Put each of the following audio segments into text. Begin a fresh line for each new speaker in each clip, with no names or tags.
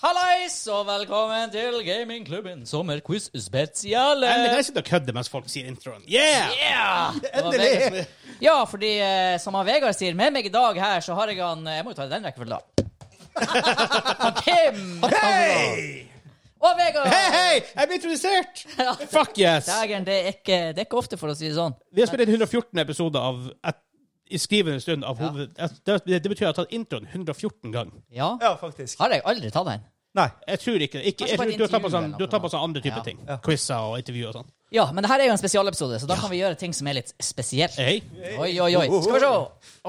Hallais, og velkommen til Gamingklubben sommerquiz spesial.
Endelig kan jeg sitte og kødde mens folk sier introen. Yeah!
Eh, Yeah! Det var
Endelig!
Vegard som- Ja, fordi eh, som han Vegard sier, med meg i dag her, så har jeg han eh, Jeg må jo ta den rekkefølgen, da. Han Kim!
Hei!
Og Vegard!
Hei, hei! Jeg blir introdusert! Fuck yes!
Dægeren, det, er ikke- det er ikke ofte, for å si det sånn.
Vi har spilt inn 114 episoder av et, i skrivende stund av hoved... Det, det betyr at jeg har tatt introen 114 ganger.
Ja.
Ja, faktisk.
Har jeg aldri tatt den?
Nei.
Jeg tror ikke, ikke
Kanskje
jeg
bare
tror, Du har tatt på
intervju
sånn,
eller
du har tatt på
noe.
sånn andre typer
Ja.
ting. Quizer og intervju og sånn.
Ja, men det her er jo en spesialepisode, så da kan vi gjøre ting som er litt spesielt.
Hei.
Oi, oi, oi. Skal vi se.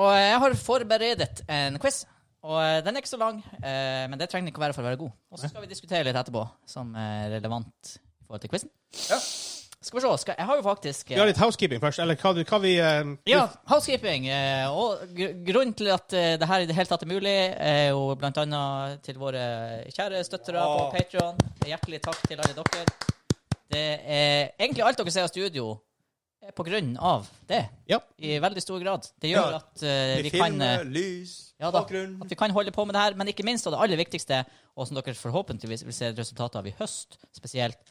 Og eh, jeg har forberedt en quiz. Og eh, den er ikke så lang, eh, men det trenger den ikke å være for å være god. Og så skal vi diskutere litt etterpå, som er relevant i forhold til quizen.
Ja.
Skal vi se. Skal, jeg har jo faktisk eh,
Vi har litt housekeeping først. Eller hva, vi- hva vi eh,
ja, housekeeping. eh, Og gr- grunnen til at eh, det her i det hele tatt er mulig, er jo blant annet til våre kjære støttere på
Åh.
Patreon. Hjertelig takk til alle dere. Det er egentlig alt dere ser av studio, er på grunn av det.
Ja.
I veldig stor grad. Det gjør
Ja.
at eh,
Vi
vi
filmer,
kan eh,
lys,
ja da,
bakgrunn
at vi kan holde på med det her, men ikke minst, og det aller viktigste, og som dere forhåpentligvis vil se resultatet av i høst spesielt,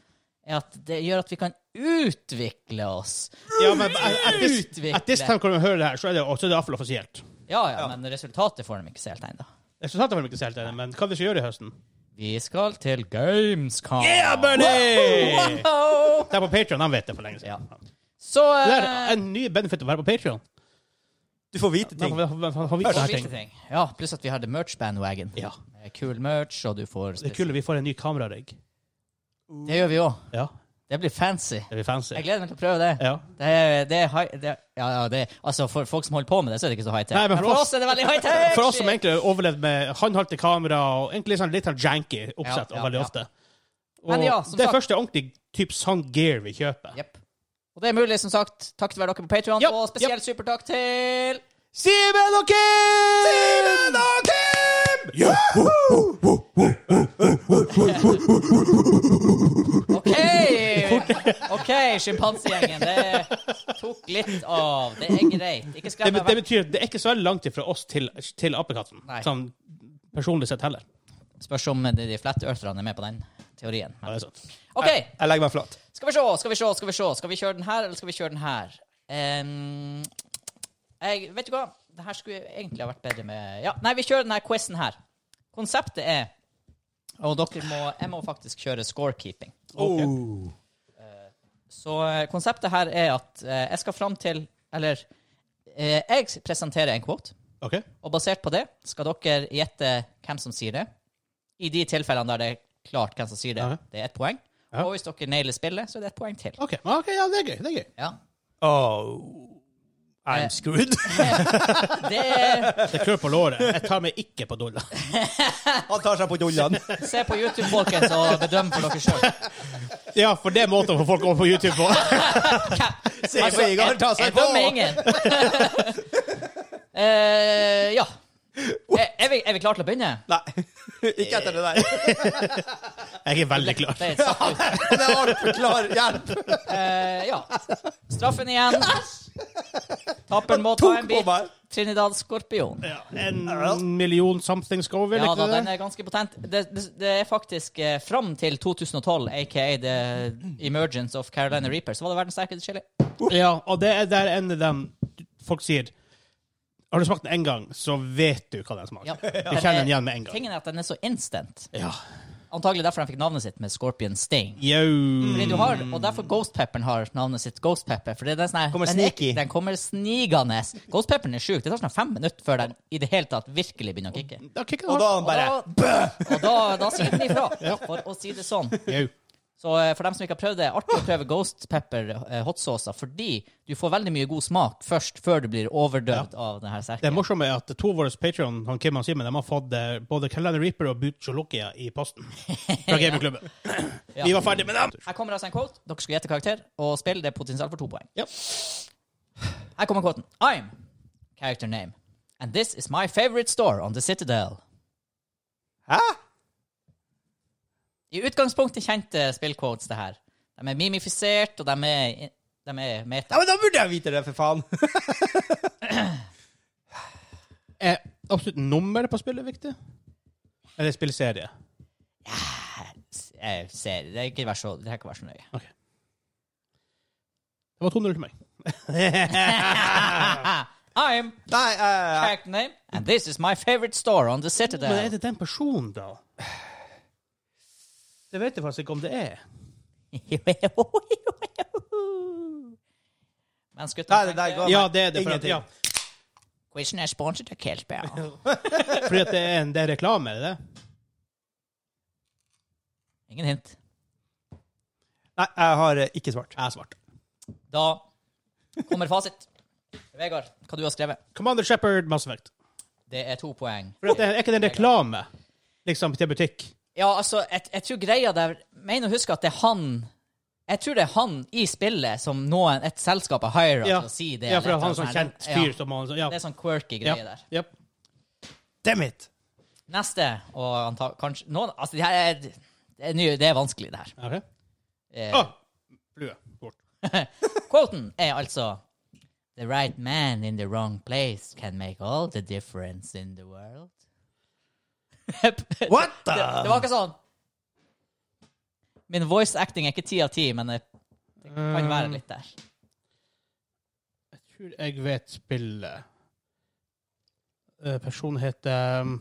er at det gjør at vi kan utvikle oss.
ja men at- at this, at this
Utvikle.
time kan vi høre det her, så er det, så er det iallfall offisielt.
Ja, ja,
Ja.
men resultatet får de ikke se helt ennå.
Resultatet var ikke så helt enig, men hva vi skal gjøre i høsten?
Vi skal til Gamescom.
Bernie!
Wow!
Det er på Patreon, han vet det for lenge
Ja.
siden.
Så eh,
Det er en ny benefit å være på Patreon.
Du får vite ting.
og viktige ting. Ja, pluss at vi har The Merch Bandwagon.
Ja.
Med Kul merch, og du får
Det er kult at vi får en ny kamerarigg.
Det gjør vi òg.
Ja,
Det blir fancy.
det blir fancy.
Jeg gleder meg til å prøve det.
Ja.
Det er, det er high, det er, ja, ja, det er, altså For folk som holder på med det, så er det ikke så high-tech.
Nei, men for oss-
er det veldig high-tech!
For oss som egentlig har overlevd med håndholdte kamera og egentlig sånn litt sånn janky oppsett
Ja, ja,
og veldig
ja.
ofte. Og
Men ja, som
det er
sagt-
første ordentlig typ sånn gear vi kjøper.
Jep. Og det er mulig, som sagt. Takk til hver dere på Patreon
Jep,
og spesielt supertakk til
Simen og Kim!
Simen og Kim!
OK! OK, sjimpansegjengen. Det tok litt av. Det er greit. Ikke
Det,
skrem
be-
meg
det
vekk.
betyr det er ikke så veldig langt fra oss til, til apekatten.
Nei.
Sånn personlig sett heller.
Spørs om de, de flette ørterne er med på den teorien.
Ja,
Men.
det er sant.
OK,
Jeg, jeg legger meg flat.
skal vi se, skal vi se, skal vi se. Skal vi kjøre den her, eller skal vi kjøre den her? Ehm, jeg, vet du hva? Det her skulle egentlig ha vært bedre med ja, Nei, vi kjører denne quizen her. Konseptet er Og dere må Jeg må faktisk kjøre scorekeeping.
Ok.
Oh.
Så eh, konseptet her er at eh, jeg skal fram til Eller eh, jeg presenterer en quote,
Ok.
og basert på det skal dere gjette hvem som sier det. I de tilfellene der det er klart hvem som sier det,
Ja.
det er ett poeng.
Ja.
Og hvis dere nailer spillet, så er det ett poeng til.
Ok, ok, ja, det er gøy. Det er gøy.
Ja.
Oh.
Eh.
I'm screwed.
Det er,
Det klør på låret. Jeg tar meg ikke på dolla.
Han tar seg på dollene.
se på YouTube, folkens, og bedøm for dere sjøl.
Ja, for det er måten å få folk over på YouTube på.
Se Vegard ta
Altså, jeg
seg på!
dømmer ingen. Eh, ja. Er, er, vi, er vi klare til å begynne?
Nei. Ikke etter det der.
Jeg er veldig klar.
Det er et satt ut.
Det er altfor klar hjelp.
Eh, ja. Straffen igjen. Taperen må ta
Tok
en
på
bit.
meg.
Trinidad Skorpion.
Ja, en million something skal over,
Ja
ikke
da, den
det?
er ganske potent. Det, det, det er faktisk eh, fram til 2012, aka The Emergence of Carolina Reaper, så var det verdens sterkeste chili.
Ja, og det er der en av dem folk sier Har du smakt den én gang, så vet du hva den smaker.
Ja.
Du kjenner den igjen med en gang.
Tingen er at den er så instant.
Ja.
Antagelig derfor han fikk navnet sitt med Scorpion Sting.
Yo.
Fordi du har, og derfor Ghost Pepperen har navnet sitt Ghost Pepper. Fordi den, er sånn her,
Kommer
den, er,
sneaky.
den kommer snigende. Ghost Pepperen er sjuk. Det tar sånn fem minutter før den i det hele tatt virkelig begynner å kicke.
Da kicker
Og
den
da
hardt.
han bare
og da, og da, da sier den ifra, for å si det sånn.
Yo.
Så eh, for dem som ikke har prøvd det, artig å prøve ghost pepper eh, hotsauser, fordi du får veldig mye god smak først, før du blir overdøvd av denne
Det
serken.
morsomme er at to av våre Patreon, han Kim og Simen, de har fått eh, både Calendar Reaper og Butcholokia i posten fra gamingklubben.
Ja.
Vi var ferdig med dem.
Her kommer altså en quote. Dere skal gjette karakter, og spill det er potensielt for to poeng.
Ja.
Her kommer quoten. I'm character name. And this is my favorite store on the Citadel.
Hæ?
I utgangspunktet kjente spillquotes, det her. De er mimifisert, og de er, de er meta.
Ja, men da burde jeg vite det, for faen.
Er absolutt nummeret på spillet viktig? Eller spillserie?
jeg ser, det er ikke vær så, det er ikke vær så nøye.
Det var 2-0 til meg.
I'm
Nei, eh,
character name, and this is my favorite store on the
Men er
Citadel.
det den personen, da? Det vet jeg faktisk ikke om det er.
Mens
nei,
guttene
det der
tenker,
går
Ja, det er det. For at,
Ingenting.
ja,
quizen er sponset av Keltberg.
fordi at det er, en, det er reklame, er det det?
Ingen hint.
nei, jeg har eh, ikke svart.
Jeg har svart.
Da kommer fasit. Vegard, hva du har skrevet?
Commander Shepherd, Mass Effect.
Det er to poeng.
For at det er ikke det en reklame, liksom, til butikk?
Ja, altså, jeg, jeg tror greia der Mener å huske at det er han Jeg tror det er han i spillet som noen, et selskap har hiret
Ja,
til å si det.
ja
eller
for
et
han
eller
sånn
annet
kjent
sånt.
fyr
Ja,
som han Ja.
det er sånn quirky
ja.
greie der.
Yep.
Damn it!
Neste, og anta, kanskje noen, Altså, det her er, det er, nye, det er vanskelig, det her.
Okay.
Eh,
Ah, flue. Bort.
Quoten er altså The right man in the wrong place can make all the difference in the world.
What the?
Det, det var ikke sånn. Min voice acting er ikke ti av ti, men det kan være litt der.
Eh, Jeg tror jeg vet spillet. Eh, Personen heter um,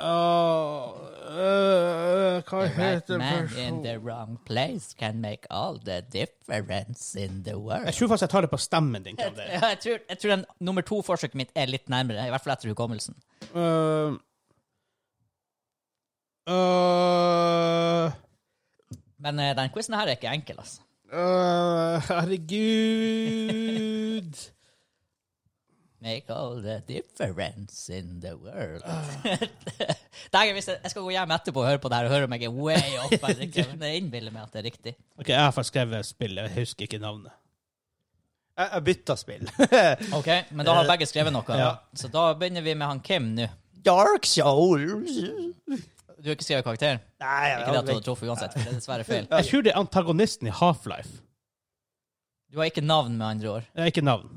ah, eh,
The
Hva
right
heter
man in
personen
the wrong place can make all the difference in the
Jeg
world.
tror faktisk jeg tar det på stemmen din. Kan det.
Ja, jeg tror, jeg tror den nummer to-forsøket mitt er litt nærmere, i hvert fall etter hukommelsen.
Eh, eh,
Men eh, den quizen her er ikke enkel, altså.
eh, herregud
Make all the difference in the world. Dagen, hvis jeg, jeg skal gå hjem etterpå og høre på det her og høre om jeg er way off. eller ikke, Men jeg innbiller meg at det er riktig.
Ok, Jeg har faktisk skrevet spillet. Jeg husker ikke navnet.
Jeg, jeg bytta spill.
Ok, Men da har begge skrevet noe.
Ja.
Så da begynner vi med han Kim nå.
Dark Souls.
Du har ikke skrevet karakter?
Nei, jeg,
Ikke det at du hadde truffet uansett, for det er dessverre feil.
Jeg tror det er antagonisten i Half-Life.
Du har ikke navn, med andre ord.
Eh, Ikke navn.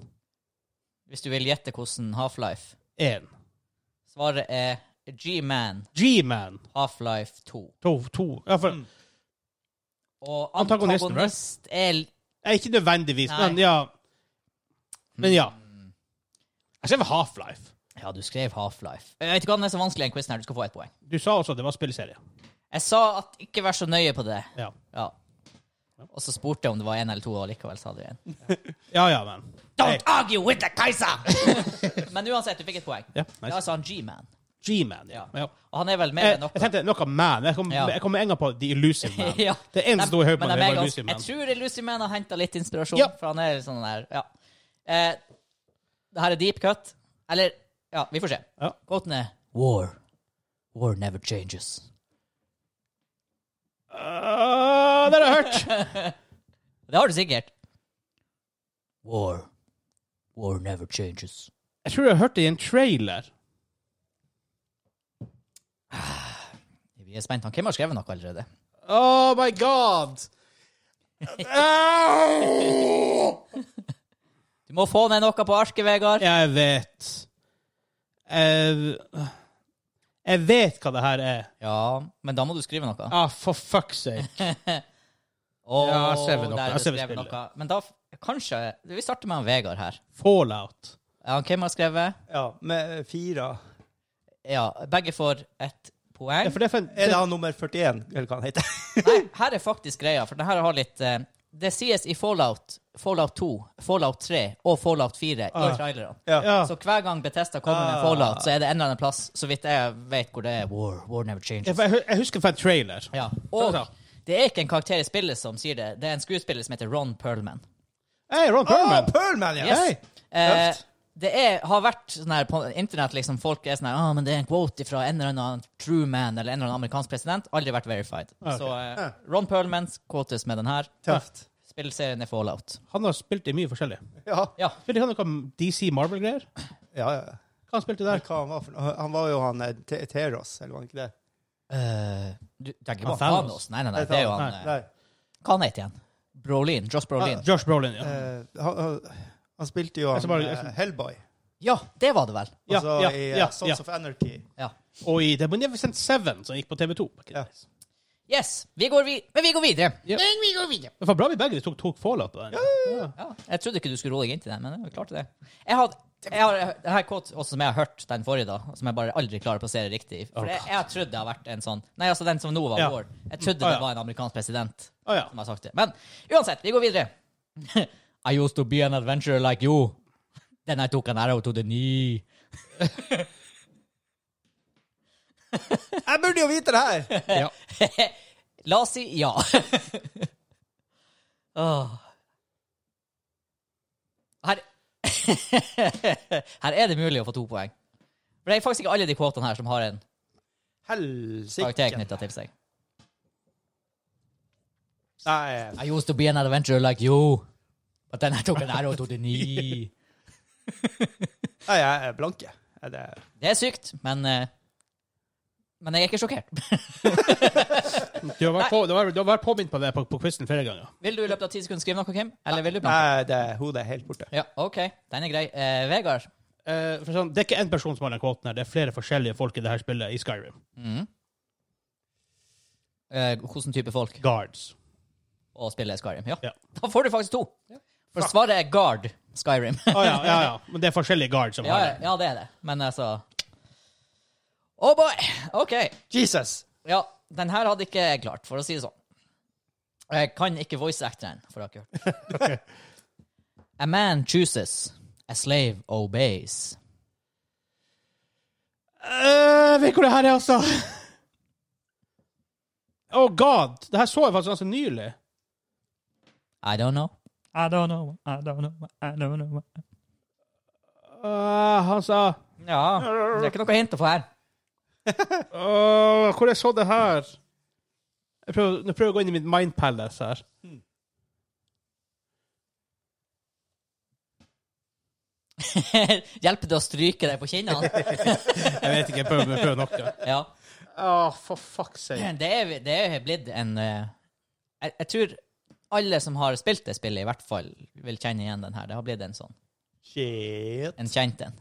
Hvis du vil gjette hvordan Half-Life
Én.
Svaret er G-Man,
G-Man.
Half-Life 2.
To, to. Ja, for,
Og
Antagonisten, right?
antagonist er
eh, ikke nødvendigvis,
Nei.
men ja. Men ja. Jeg skrev Half-Life.
Ja, du skrev Half-Life. Jeg vet ikke hva den er så vanskelig i den quizen her. Du skal få ett poeng.
Du sa også at det var spillserie.
Jeg sa at ikke vær så nøye på det.
Ja.
Ja. Og så spurte jeg om det var én eller to, og likevel sa du én.
ja, ja, men. Eh,
Don't argue with the Kaiser! Men uansett, du fikk et poeng.
Ja,
Det er
nice. Eh,
altså han G-man.
G-Man, ja. ja.
Og han er vel mer
Jeg,
enn
jeg
noe.
tenkte noe man. Jeg kom,
Ja.
jeg kom med en gang på The Illusive Man.
Ja.
Det er en som sto i hodet på
Men
meg,
de
det
er
var
ganske-
Illusive Man.
Jeg tror Lucy Man har henta litt inspirasjon,
Ja.
for han er sånn der Ja. Eh, det her er deep cut. Eller Ja, vi får se.
Ja.
Quoten er War. War never changes.
Ah, det har jeg hørt!
Det har du sikkert. War. War never changes.
Jeg tror jeg har hørt det i en trailer.
Vi er spent. Han Kim har skrevet noe allerede.
Oh my god! Au!
Du må få ned noe på arket, Vegard.
Jeg vet jeg, jeg vet hva det her er.
Ja, men da må du skrive noe.
Ah, for fuck's sake.
Åh,
Ja, jeg ser vel noe.
der er
Jeg
det
ser vel
skrevet
spillet.
noe. Men da f- kanskje Vi starter med han Vegard her.
Fallout.
Ja, han Kim har skrevet.
Ja, med fire.
Ja, begge får ett
Ja,
poeng.
for det er for en,
Er det han nummer 41, eller hva han heter?
Nei, her er faktisk greia, for det her har litt eh, Det sies i Fallout, Fallout 2, Fallout 3 og Fallout 4 i trailerne.
Ah. ja. Ah.
Så hver gang Betesta kommer med Fallout, så er det en eller annen plass, så vidt jeg vet hvor det er. War, war never
Ja,
changes.
for jeg, hu- jeg husker fra en trailer.
Ja.
Så
Og
bra.
det er ikke en karakter i spillet som sier det, det er en skuespiller som heter Ron Perlman.
Hey, Ron
Ah,
Perlman!
Pearlman, ja!
Yes.
Hei.
Eh,
Tøft.
det er, har vært sånn her på internett liksom folk er sånn her, ah, men det er en quote fra en eller annen true man eller en eller annen amerikansk president. Aldri vært verified. Så eh, Ron Perlmans quotes med den her.
Tøft.
Spillserien er Fallout.
Han har spilt i mye forskjellig.
Ja.
Ja.
Spilte han noe DC Marvel-greier?
Ja, ja, ja.
Hva han spilte
Men
der?
Hva han var for noe? Han var jo han eh, Te- Teros, eller var han ikke det?
Eh, du tenker
Han
på Thanos?
Thanos.
Nei, nei, nei. Det er jo han eh,
Nei.
Hva han heter igjen? Brolin. Josh Brolin.
Ah, Josh Brolin, ja.
Eh, han, han, han spilte jo
Jeg
han,
skal bare- jeg
eh,
skal-
Hellboy,
Ja, det var det vel.
Ja,
altså
ja,
i eh,
ja,
Sons
ja.
of Anarchy.
Ja.
Og i The Magnificent Seven, som gikk på TV2.
Ja.
Yes. Vi går, vi, men vi går videre.
Ja.
Men vi går videre.
Det var bra vi begge tok, tok fallout på den. Ja.
Ja, jeg trodde ikke du skulle rolle deg inn til den, men jeg klarte det. Jeg har, jeg har det her quote også som jeg har hørt den forrige, da, som jeg bare aldri klarer å plassere riktig. For jeg, jeg har trodd det har vært en sånn Nei, altså den som nå var
Ja.
vår. Jeg trodde
Ah, ja.
det var en amerikansk president
Å Ah, ja.
som har sagt det. Men uansett, vi går videre. I used to be an adventurer like you. Then I took an arrow to the knee.
Jeg burde jo vite det her!
ja.
La oss si ja. Åh. Her Her er det mulig å få to poeng. For det er faktisk ikke alle de kvotene her som har en karakter
Helsike.
knytta til seg.
Nei.
I used to be an adventurer like you, but then I took an arrow to the knee.
Nei, jeg er blanke. Er det
Det er sykt, men eh, Men jeg er ikke sjokkert.
Du har vært, på, du har, du har vært påminnet på det på, på quizen flere ganger.
Vil du i løpet av ti sekunder skrive noe, Kim? Eller vil du blanke?
Nei, det er hodet er helt borte.
Ja, OK, den er grei. Eh, Vegard?
Eh, for sånn, det er ikke én person som har den kvoten her, det er flere forskjellige folk i det her spillet i Skyrim.
Mm. Eh, hvordan type folk?
Guards.
og spille Skyrim. Ja.
Ja.
Da får du faktisk to. For svaret er Guard Skyrim.
Å Ah, ja, ja, ja. Men det er forskjellige guards som
ja,
har
Ah, ja,
det.
ja, det er det. Men altså Oh boy! OK.
Jesus!
Ja, den her hadde ikke jeg klart, for å si det sånn. Jeg kan ikke voice actoren, for dere har hørt. A man chooses, a slave obeys.
Eh, vet du hvor det her er, altså? Oh god! Det her så jeg faktisk ganske nylig.
I don't know.
I don't know. I don't know. I don't know.
Eh, han sa
Ja, det er ikke noe hint å få her.
Åh, hvor jeg så det her? Jeg prøver, nå prøver jeg å gå inn i mitt mind palace her.
Hjelper det å stryke deg på kinnene?
Jeg vet ikke, jeg prøver, jeg prøver noe.
Ja.
Åh, for fuck's sake.
Det er, det er blitt en eh, jeg, jeg tror alle som har spilt det spillet, i hvert fall vil kjenne igjen den her. Det har blitt en sånn.
Shit.
En kjent en.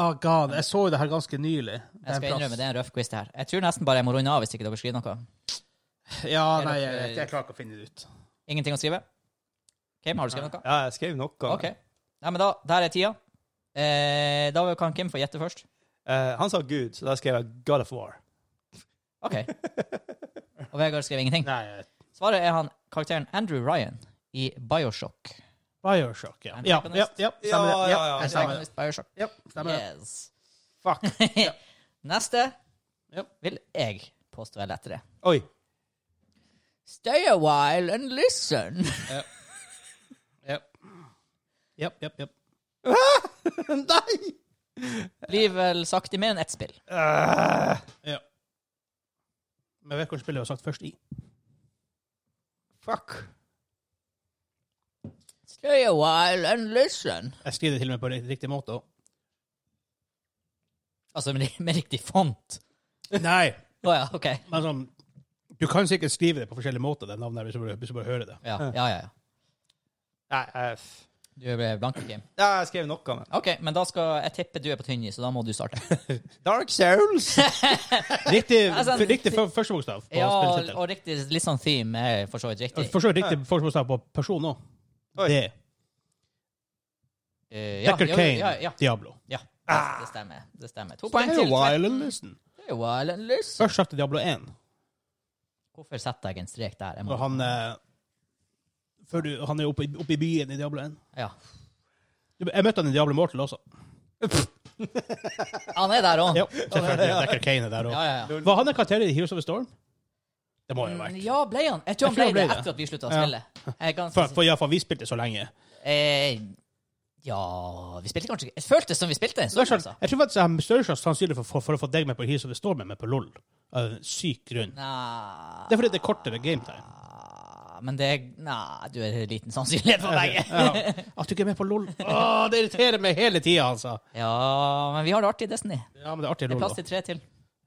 Åh, god, jeg så jo det her ganske nylig.
Jeg skal innrømme, det er en røff quiz, det her. Jeg tror nesten bare jeg må runde av hvis ikke dere skriver noe.
Ja,
nei,
nei,
jeg
jeg,
vet ikke, jeg
klarer ikke å finne det ut.
Ingenting å skrive? Kim, har du skrevet noe?
Ja, jeg skrev noe.
OK. Nei, men da, der er tida. Eh, da kan Kim få gjette først.
Eh, han sa Gud, så da skrev jeg God of War.
OK. Og Vegard skrev ingenting.
Nei,
Svaret er han karakteren Andrew Ryan i Bioshock.
Bioshock, ja.
Er det
Ja,
Japanist?
ja, ja, stemmer det. Ja,
Ja, ja, ja.
jeg stemmer det.
Bioshock.
Ja, stemmer det.
Yes.
Fuck.
Neste
Ja.
vil jeg påstå er lettere.
Oi.
Stay a while and listen.
Yep. Yep, yep, yep.
Nei!
Blir vel sagt i mer enn ett spill.
Eh,
Ja. Men jeg vet hvilket spill jeg har sagt først i.
fuck.
Stay a while and listen.
Jeg skriver det til og med på riktig, riktig måte òg.
Altså med, med riktig font.
Nei,
Å ja, OK.
men sånn Du kan sikkert skrive det på forskjellige måter, det navnet, her, hvis du bare, hvis du bare hører det.
Ja, ja, ja. ja.
Nei, eh, f-
Du ble blank, Kim.
ja, jeg skrev noe, men
OK, men da skal jeg tippe du er på tynni, så da må du starte.
Dark Souls.
Riktig,
Altså,
f- riktig f- første bokstav på
Ja, og,
spilletittelen.
og riktig, litt sånn theme er for så vidt riktig.
For så vidt riktig første bokstav på person òg.
Oi.
Det.
Eh, ja,
Decker
jo,
Kane.
Ja, ja,
Diablo.
ja. Det, det stemmer. Det stemmer. To poeng
Stay
til.
a while and listen.
Stay a while and listen.
Først sagt Diablo 1,
Hvorfor setter jeg en strek der? Jeg
og
må,
han eh, før du, Han er oppe, i- oppe i byen i Diablo 1.
ja.
Du- Jeg møtte han i Diablo Mortal også.
Ah, Han er der òg.
Jo, selvfølgelig. Decker Kane er der òg.
Ja, ja, ja.
Var han en karakter i Heroes of the Storm? Det må jo ha vært.
Mm, Ja, ble han? Jeg tror han ble,
Jeg tror han ble
det
det.
etter at vi slutta å
Ja.
spille. Jeg er ganske
For, for, ja, for vi spilte så lenge.
sikker. eh, Ja Vi spilte kanskje ikke Det føltes som vi spilte. en
Så det er
stund,
sånn,
altså.
jeg tror faktisk jeg har større sjanse sannsynlig for, for, for å få deg med på Heroes of the Storm enn med på LOL. Av en syk grunn.
Nei Ah,
Det er fordi det er kortere gametime.
Men det er Nei, du er liten sannsynlighet for begge.
Ja. At du ikke er med på LOL Åh, Det irriterer meg hele tida, altså!
Ja, men vi har det artig i Destiny.
Ja, men det er artig i
Det er
LOL.
plass
da.
til tre til.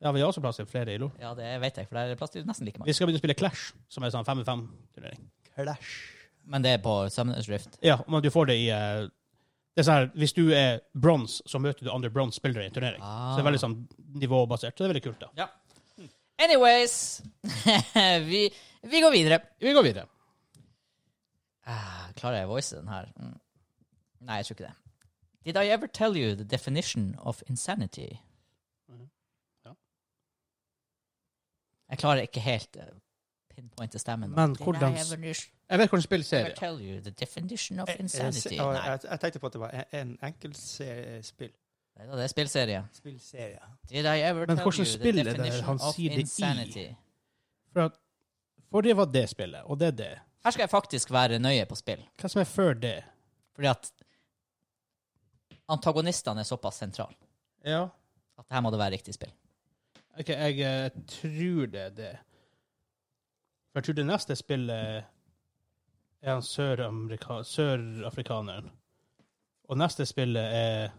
Ja, vi har også plass til flere i LOL.
Ja, det vet jeg, for det er plass til nesten like mange.
Vi skal begynne å spille Clash, som er sånn 5-5-turnering.
Clash.
Men det er på Summoners Rift.
Ja, men du får det i eh, det er sånn her, Hvis du er bronse, så møter du andre bronse-spillere i en turnering.
Ah.
Så det er veldig sånn nivåbasert. Så det er veldig kult, da.
Ja. Ah. Anyways vi, vi går videre.
Vi går videre.
Ah, Klarer jeg å voice den her? Mm. Nei, jeg tror ikke det. Did I ever tell you the definition of insanity?
Ja.
Jeg klarer ikke helt eh, pinpointe stemmen. nå.
Men
Did
hvordan
I
s-
ever
Jeg vet hvordan spill ser
ever tell you the definition
Eh,
of insanity?
Jeg, jeg,
Nei,
jeg, jeg tenkte på at det var en, en enkeltspill.
det er spillserie.
Spillserie.
Did I ever
Men
tell you the
hvordan spill er det
definition
han
of
sier det i?
insanity?
For at forrige var det spillet, og det er det.
Her skal jeg faktisk være nøye på spill.
Hva som er før det?
Fordi at antagonistene er såpass sentrale
Ja.
at her må det være riktig spill.
Ok, jeg eh, tror det er det. For jeg tror det neste spillet er han søramerika- sørafrikaneren. og neste spillet er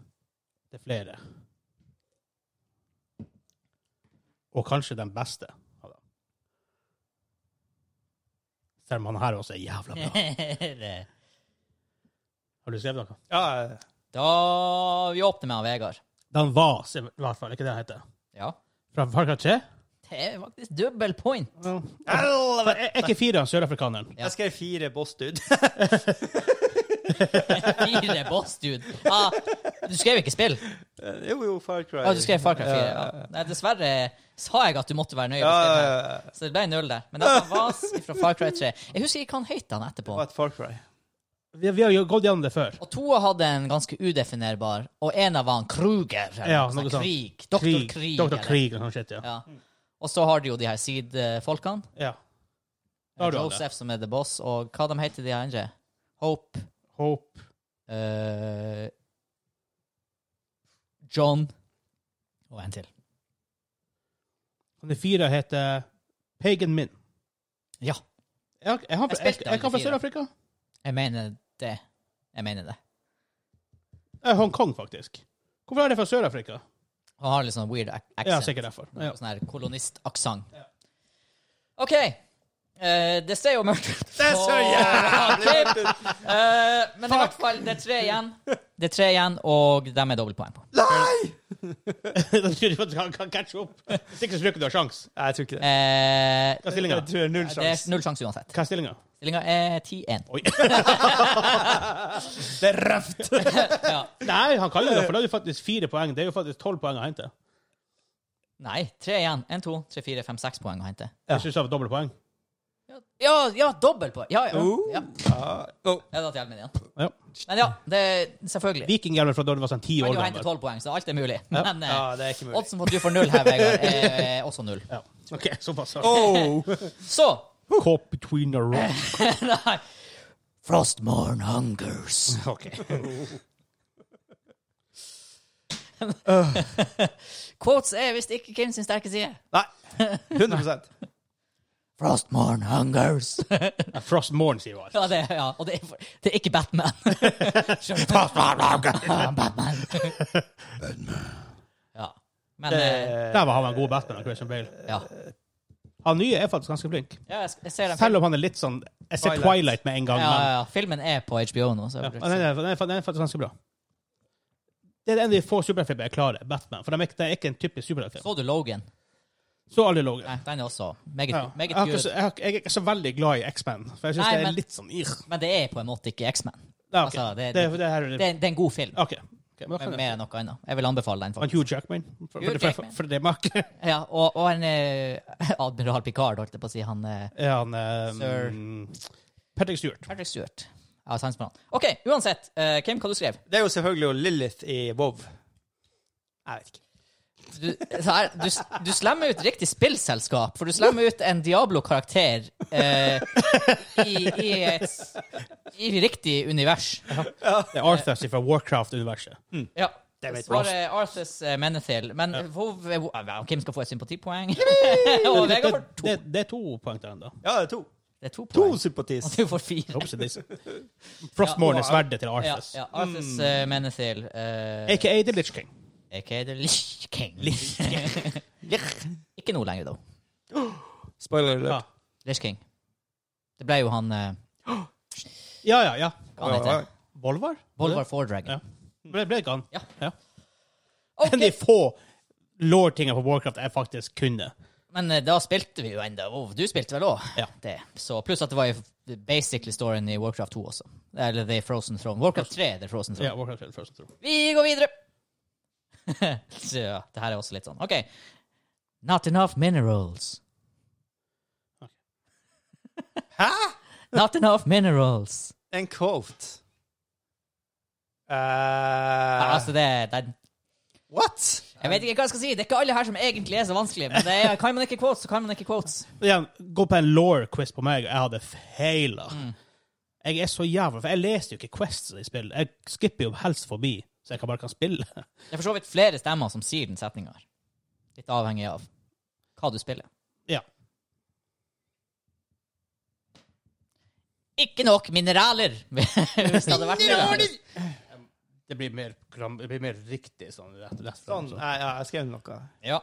det er flere. Og kanskje den beste. av dem. Selv om han her også er jævla bra.
Det-
Har du skrevet noe?
Ja,
da Vi åpner med han Vegard.
Den var, i hvert fall. Ikke det han heter.
Ja.
Fra Far Cry 3?
Det er faktisk double point.
Ja.
jeg,
Er er ikke fire han sørafrikaneren?
Ja.
jeg skrev fire boss, dude.
Fire boss, dude. Ah, du skrev ikke spill?
Eh, jo, jo, Far Cry.
Ah, du skrev Far Cry 4.
Ja,
Ja. Nei, dessverre sa jeg at du måtte være nøye.
Ja,
på
ja,
spill her.
ja.
Så det ble null der. Men det var fra Far Cry 3. Jeg husker ikke hva han het han
Det
etterpå.
var et Far Cry.
Vi, vi har jo gått gjennom det før.
Og to hadde en ganske udefinerbar, og en av var han Kruger. eller
Ja,
sånn
noe sånt.
Krig. Doktor Krig.
Doktor
eller-
Krig eller noe sånt, ja.
Ja. Og så har de jo de her side-folkene.
ja. Da har du alle.
Joseph som er the boss, og hva de heter de andre? Hope.
Hope.
eh, John. Og en til.
Og de fire heter Pagan Min.
Ja,
Jeg, jeg, har-
Jeg
jeg,
spilte
jeg kan
alle
fra
fire.
Sør-Afrika.
jeg mener det. Jeg mener det.
Eh, Hongkong, faktisk. Hvorfor er det fra Sør-Afrika?
Han har litt sånn weird ac-
Ja,
accent.
sikkert derfor. Ja.
Sånn her kolonistaksent. OK. Eh, det ser jo mørkt ut.
Det er så jævlig mørkt ut!
Eh, men i hvert fall, det er tre igjen. Det er tre igjen, og dem er dobbeltpoeng på.
Nei!
da tror jeg at han kan catche opp. Hvis ikke så tror jeg ikke du har sjans.
Nei, jeg tror ikke det.
Eh,
Hva er stillinga?
Jeg tror det er null
det er
sjanse.
null sjanse uansett.
Hva er stillinga?
Stillinga er 10-1.
Oi.
Det er røft!
Ja.
Nei, han kan jo det, for da er det faktisk fire poeng. Det er jo faktisk tolv poeng å hente.
Nei, tre igjen. En, to, tre, fire, fem, seks poeng å hente.
Jeg synes det var doble poeng.
Ja, ja, dobbelt poeng! Ja, ja.
Oh.
ja.
Ja. Oh.
Jeg datt i hjelmen igjen.
Ja.
Men ja, det er selvfølgelig.
Viking er vel fra da du var sånn ti
Du
år
kan jo hente
gammel.
tolv poeng, så alt er mulig. Men eh,
ja, det er ikke mulig.
oddsen for at du får null her, Vegard, er er også null.
Ja. OK, såpass.
Oh.
Så
Caught between the rocks.
Nei. Frostmorn hungers.
OK.
Quotes er visst ikke Kim sin sterke side.
Nei. 100
Frostmorn hungers.
Frost Morn, sier altså. hun.
Ja, det, ja. Og det er, det er ikke Batman. Skjønner du? Ah, Batman. Ja. Men eh,
Eh,
Der var han en god Batman. Christian Bale.
ja.
Han nye er faktisk ganske flink.
ja jeg, jeg ser den filmen.
Selv om han er litt sånn Jeg ser
Twilight.
Twilight med en gang.
Ja, ja,
Men,
ja. Filmen er på HBO nå. Så
ja.
jeg
Den,
burde si.
er, den, er, den er faktisk ganske bra. Det er en av de få superheltfilmer jeg klarer. Batman. For de er ikke, det er ikke en typisk superheltfilm.
Så du Logan?
Så alle lå
Nei, den er også meget,
ja. jeg,
meget
har ikke
good.
så- jeg, har ikke- jeg er ikke så veldig glad i X-Man. For jeg syns
Nei,
det er
men-
litt sånn irr.
Men det er på en måte ikke X-Man.
Nei, ok.
Altså, det,
det,
det,
det, her er
det, er- det er en god film,
OK. Ok, men da
men
kan jeg-
mer enn noe annet. Jeg vil anbefale den.
Han
faktisk.
Hugh Jackman. For,
Hugh
for, for,
Jackman.
for, for det merket.
Ja, og, og en eh, Admiral Picard, holdt jeg på å si. Han eh,
Er han um,
Sir.
Patrick Stewart.
Patrick Stewart. Jeg har sans for han. OK, uansett. eh, Kim, hva du skrev
det er jo selvfølgelig jo Lilith i WoW. Jeg vet ikke.
du? så Her, du, s- du slemmer ut riktig spillselskap, for du slemmer ut en Diablo-karakter eh, i, i et s- i riktig univers.
Det er Arthur fra Warcraft-universet.
Ja.
Det vet
Svaret
jeg.
er Arthus eh, Menethil. Men hvor- eh, hvor- ja, Kim skal få et sympatipoeng. og
Det,
Vegard får to.
det, det er to poeng til ennå.
Ja, det er to.
Det er to
To
poeng.
sympatis.
Og du får fire.
Frostmorn
Ja,
er
og-
sverdet til
Ja,
Arthas.
ja. Arthus eh, Menethil. eh,
AKA The Litch King.
A.K.A. The Lich King. Ikke nå lenger, da.
Ja.
Spoiler alert.
Lich King. Det ble jo han eh,
ja, ja, ja.
Hva han heter han?
Volvar?
Volvar Fordragon.
Ja. Ble, ble ikke han?
Ja.
ja.
Ok,
Men de få lore-tinga på Warcraft jeg faktisk kunne.
Men eh, da spilte vi jo enda WoW. Du spilte vel òg
Ja.
det. Så pluss at det var jo basically storyen i Warcraft 2 også. Eller The Frozen Throne. Warcraft 3 er The Frozen Throne.
Ja, Warcraft Trail først, tror jeg.
Vi går videre. Så, ja, det her er også litt sånn. OK. Not enough minerals.
Hæ?!
Not enough minerals.
En quote. Eh,
Ja, altså, det, det
what?!
Jeg vet ikke hva jeg skal si. Det er ikke alle her som egentlig er så vanskelig, men det er, kan man ikke quotes, så kan man ikke quotes.
Men Igjen, gå på en law-quiz på meg, og jeg hadde feila.
Mm.
Jeg er så jævla For jeg leser jo ikke quests i spill. Jeg skipper jo helst forbi, så jeg kan bare kan spille.
Det er for så vidt flere stemmer som sier den setninga her. Litt avhengig av hva du spiller.
Ja.
Ikke nok mineraler! Hvis det hadde vært det.
Det blir mer, riktig sånn rett,
Sånn, nei, ja, jeg skrev noe.
Ja.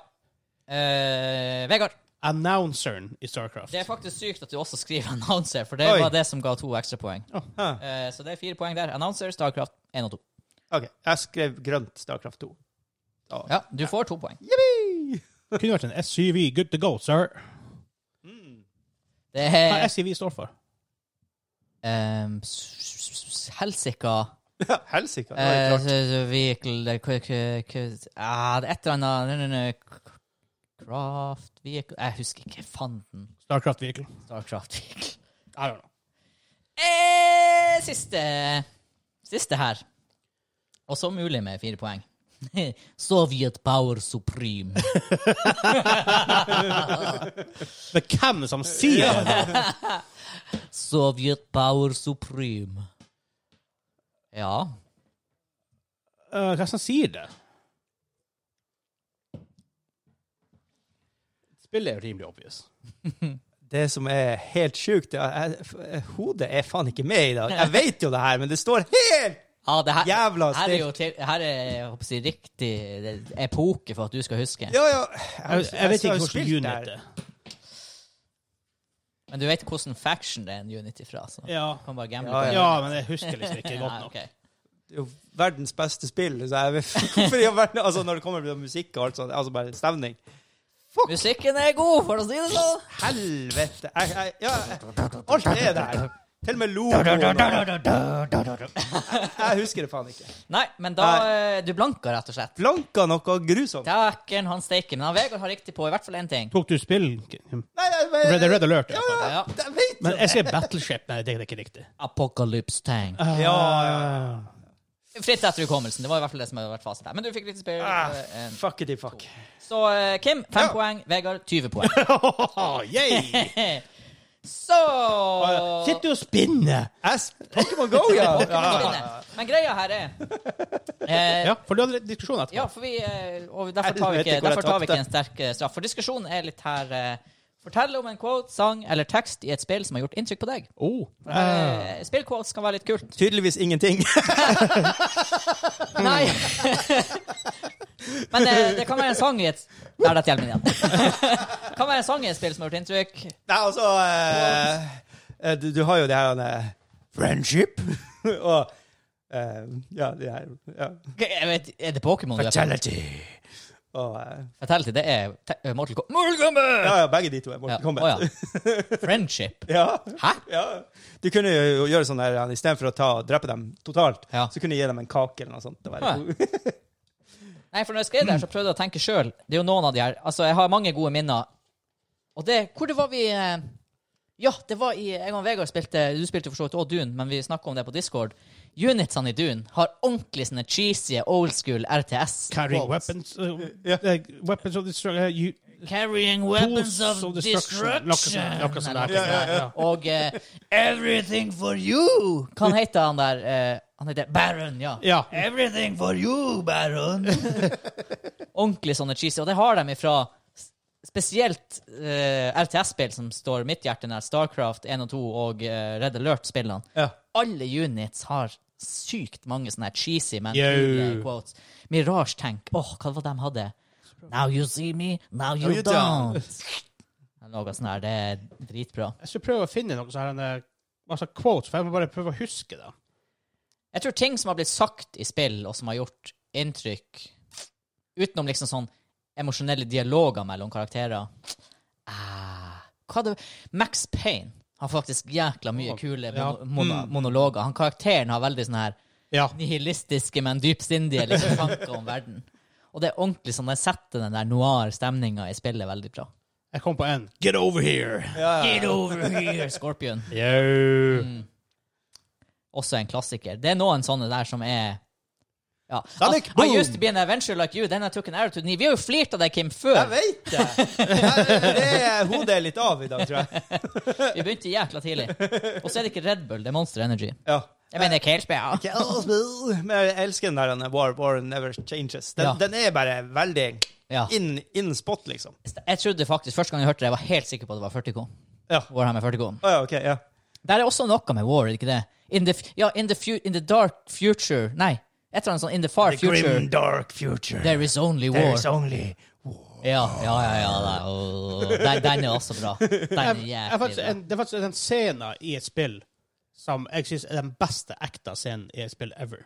Eh, Vegard,
Announceren i Starcraft.
det er faktisk sykt at du også skriver announcer, for det
Oi. Ah.
var det som ga to ekstrapoeng.
Hæ.
Uh, så det er fire poeng der. Announcer, Starcraft 1 og 2.
OK, jeg skrev grønt Starcraft 2. Ja.
Ja, du får to poeng.
Kunne vært en SUV. Good to go, sir.
Eh. Det
Hva
er
SUV står for?
um, Helsika
Helsike, det var litt
Eh,
rart.
så- så Vehicle eh, k- k- k- ah, det er Et eller annet nei, nei, nei, k- Craft Vehicle Jeg husker ikke fanden.
Starcraft Vehicle.
Starcraft Vehicle.
I don't know.
Eh, siste Siste her. Og så mulig med fire poeng. Soviet power supreme.
Det er hvem som sier det?
Soviet power supreme. Ja.
Uh, hva som sier det? Spillet er jo rimelig obvious.
Det som er helt sjukt, er at jeg- hodet er faen ikke med i dag. Jeg vet jo det her, men det står helt
ja det her,
Jævla
her er jo til, her er jeg håper å si, riktig det er epoke for at du skal huske.
Ja, ja.
Jeg, jeg vet ikke
har
hvordan
spilt det her.
unit det er.
Men du vet hvordan faction det er en unit ifra, så
Ja.
kan bare gamble
Ja,
på det.
ja, men jeg husker liksom ikke godt
Nei,
nok.
ok.
Det er jo verdens beste spill. Så jeg vet, hvorfor i all verden- altså, når det kommer til musikk og alt sånt, altså bare stemning
Musikken er god, for å si det sånn!
Helvete! Jeg, jeg, ja, jeg, alt er der. Til og med logoen.
Ah,
Jeg, jeg husker det faen ikke.
Nei, men da eh, Du blanka, rett og slett.
Blanka noe grusomt.
Dæken han steiker. Men han Vegard har riktig på i hvert fall én ting.
Tok du spill? Kim?
Nei, jeg, jeg,
Red, Red Alert, i hvert fall.
Ja.
jeg vet
Men jeg ser Battleship, men det er ikke riktig.
Apocalypse Tang.
Ja,
Ah,
ja,
Fritt etter hukommelsen. Det var i hvert fall det som hadde vært fasit her. Men du fikk riktig spill.
Ah,
eh, en.
Fuck it, fuck.
Så eh, Kim, fem
Ja.
poeng. Vegard, 20 poeng.
Ah, Yay!
Så
Ah. Sitter du og spinner?
Ass, Pokémon Go, ja! ja.
Men greia her er eh,
Ja, for du hadde litt diskusjon etterpå.
Ja, for vi, eh, og derfor tar vi ikke,
Helvete, hvor jeg
derfor tar vi
tapte.
ikke en sterk eh, straff. For diskusjonen er litt her eh, Fortell om en quote, sang eller tekst i et spill som har gjort inntrykk på deg.
Oh.
Ah.
Uh, Spillquotes kan være litt kult.
Tydeligvis ingenting.
Nei! Men eh, det kan være en sang i et Der, dette hjelper igjen. Det kan være en sang i et spill som har gjort inntrykk.
Nei, altså eh, eh, du, du har jo det her eh, Friendship. og eh, Ja, det her ja.
Ok, Jeg vet, er det Pokémon du er på?
Fatality. Og eh,
Fatality, det er te eh, Mortal Kombat. Mortal Kombat!
ja, ja, begge de to er Mortal
Ja,
Kombat.
å ja. Friendship.
Ja.
Hæ?
ja. Du kunne jo gjøre sånn der istedenfor å ta, drepe dem totalt,
Ja.
så kunne du gi dem en kake eller noe sånt. Det var
Ja.
det.
Nei, for når jeg skrev det her, så prøvde jeg å tenke sjøl. Det er jo noen av de her. Altså, jeg har mange gode minner. Og det Hvor det var vi eh, Ja, det var i Jeg og Vegard spilte Du spilte for så vidt òg Dune, men vi snakka om det på Discord. Unitsene i Dune har ordentlig sånne cheesy old school RTS.
Carrying
quotes.
weapons uh, uh, Weapons of destruction uh, you-
Carrying
Tools
weapons of,
of
destruction.
destruction. Noe sånt- noe sånt der.
Eller noe sånt der. Og eh, Everything for you! Hva han heter han der? eh, han heter Baron, ja.
Ja.
Everything for you, Baron. Ordentlig sånne cheesy. Og det har de ifra s- spesielt eh, RTS-spill som står mitt hjerte nær. Starcraft 1 og 2 og eh, Red Alert-spillene.
Ja.
Alle units har sykt mange sånne her cheesy, men
Yo.
kule quotes. Mirage Tank. Åh, hva var det de hadde? Now you see me, now you,
Now you
don't.
don't.
Noe sånt her. Det er dritbra.
Jeg skal prøve å finne noe sånn her, en, eh, masse quotes, for jeg må bare prøve å huske det.
Jeg tror ting som har blitt sagt i spill, og som har gjort inntrykk, utenom liksom sånn emosjonelle dialoger mellom karakterer hva det, Max Payne har faktisk jækla mye kule
Ja.
mono, mono, monologer. Han karakteren har veldig sånn her
Ja.
nihilistiske, men dypsindige liksom, tanker om verden. Og det er ordentlig sånn, den setter den der noir-stemninga i spillet veldig bra.
Jeg kom på en. Get over here!
Get over here, Scorpion.
Yo.
Også en klassiker. Det er noen sånne der som er ja. Altså,
Sonic
I,
Boom!
I used to be an adventure like you, then I took an arrow to the knee. Vi har jo flirt av deg, Kim,
Jeg
før.
vet det! Jeg- Det er hodet er litt av i dag, tror jeg.
Vi begynte jækla tidlig. Og så er det ikke Red Bull, det er Monster Energy.
Ja.
Jeg mener, Kalespill.
Ikke alt, Men jeg elsker den der den War, War Never Changes. Den,
Ja.
den er bare veldig
Ja.
in, in spot, liksom.
Jeg trodde faktisk, Første gang jeg hørte det, jeg var helt sikker på at det var 40K.
Ja.
Warhammer 40K.
Å ja, OK. Ja.
Der er også noe med war, er det ikke det? In the, f- ja, in the, fu in the dark future Nei, et eller annet sånn In the far future
dark future.
there is only war.
There is only war.
Ja, ja, ja. ja det- åh, den, den er også bra. Den er
Jeg, jeg,
jæklig
faktisk,
bra.
en, det er faktisk en scene i et spill som jeg syns er den beste ekte scenen i et spill ever.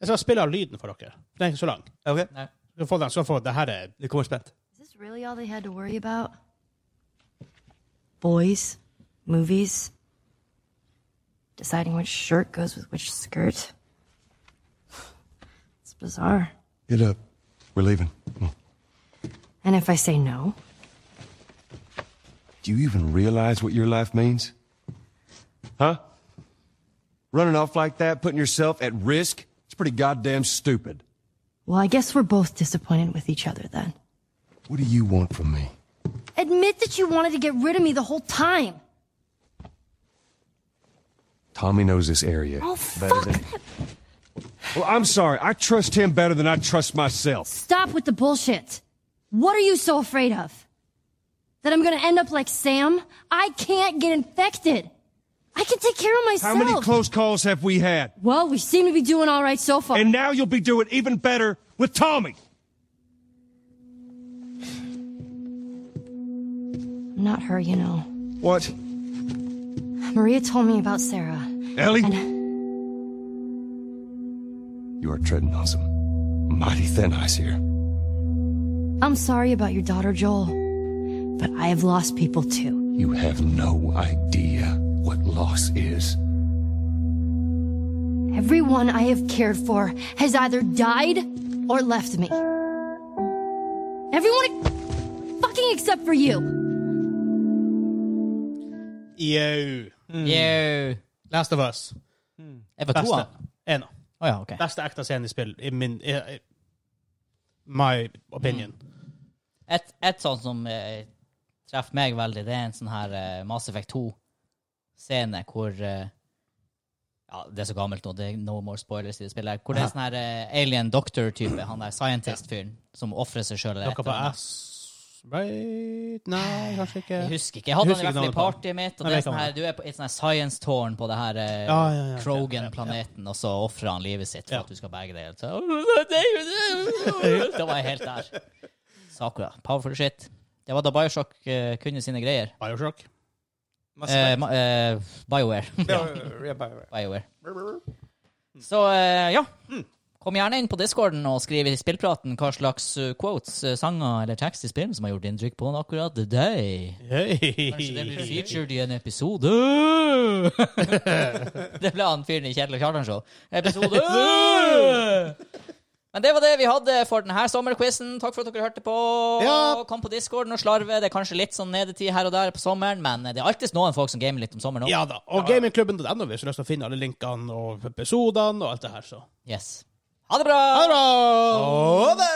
Jeg skal spille av lyden for dere. Den er ikke så lang.
Ok,
Nei.
Du skal få den, så få det her er
Du kommer spent.
Is this really all they had to worry about? Boys, movies, deciding which shirt goes with which skirt. It's bizarre.
Get up. We're leaving. Come on.
And if I say no,
Do you even realize what your life means? Huh? Running off like that, putting yourself at risk? It's pretty goddamn stupid.
well, I guess we're both disappointed with each other then.
What do you want from me?
Admit that you wanted to get rid of me the whole time.
Tommy knows this area.
Oh,
better
fuck.
than.
that-
Well, I'm sorry. I trust him better than I trust myself.
Stop with the bullshit. What are you so afraid of? That I'm gonna end up like Sam? I can't get infected. I can take care of
How
myself.
many close calls have we had?
Well, we seem to be doing all right so far.
And now you'll be doing even better with Tommy.
Not her, you know.
What?
Maria told me about Sarah.
Ellie?
And
You are treading on some mighty thin ice here.
I'm sorry about your daughter, Joel. But I have lost people too.
You have no idea what loss is.
Everyone I have cared for has either died or left me. Everyone ex- fucking except for you.
Yo.
Yo.
Last of Us.
Jeg var to,
Beste.
han.
En av.
Å ja, OK.
Beste ekte scenen i spill, i min i, i, My opinion.
Et, et sånt som eh, treffer meg veldig, det er en sånn her eh, Mass Effect 2-scene hvor eh, Ja, det er så gammelt nå, det er no more spoilers i det spillet. Hvor det er sånn her eh, alien doctor-type, han der scientist-fyren, som ofrer seg sjøl.
Noe på ass Right Nei, kanskje ikke.
Jeg husker ikke. Jeg hadde han i hvert fall
Jeg husker
i
ikke navnet på
partyet mitt. Og
Nei,
det
jeg
er sånn
kan
her, du er på et sånn her science-tårn på det her eh,
Ja, ja, ja,
Krogan-planeten, og så ofrer han livet sitt for
Ja.
at du skal berge deg. Så- Da var jeg helt der. Sakura. Powerful shit. Det var da Bioshock eh, kunne sine greier.
Bioshock.
Mass
Eh,
Effect.
ma- eh, Bioware.
Ja, ja, ja,
Bioware.
Mm.
Så eh, ja. Kom gjerne inn på discorden og skriv i spillpraten hva slags eh, quotes, eh, sanger eller tekst i spillet som har gjort inntrykk på han akkurat deg. Kanskje det blir
Hey.
featured i en episode Det ble han fyren i Kjetil Kjartansson. Episode Men det var det vi hadde for denne sommerquizen. Takk for at dere hørte på.
Ja.
Kom på discorden og slarve. Det er kanskje litt sånn nedetid her og der på sommeren, men det er alltid noen folk som gamer litt om sommeren òg.
Ja da. Og gamingklubben.no hvis du har lyst til å finne alle linkene og episodene og alt det her, så.
Yes. Ha det bra!
Ha det bra!
Ha det!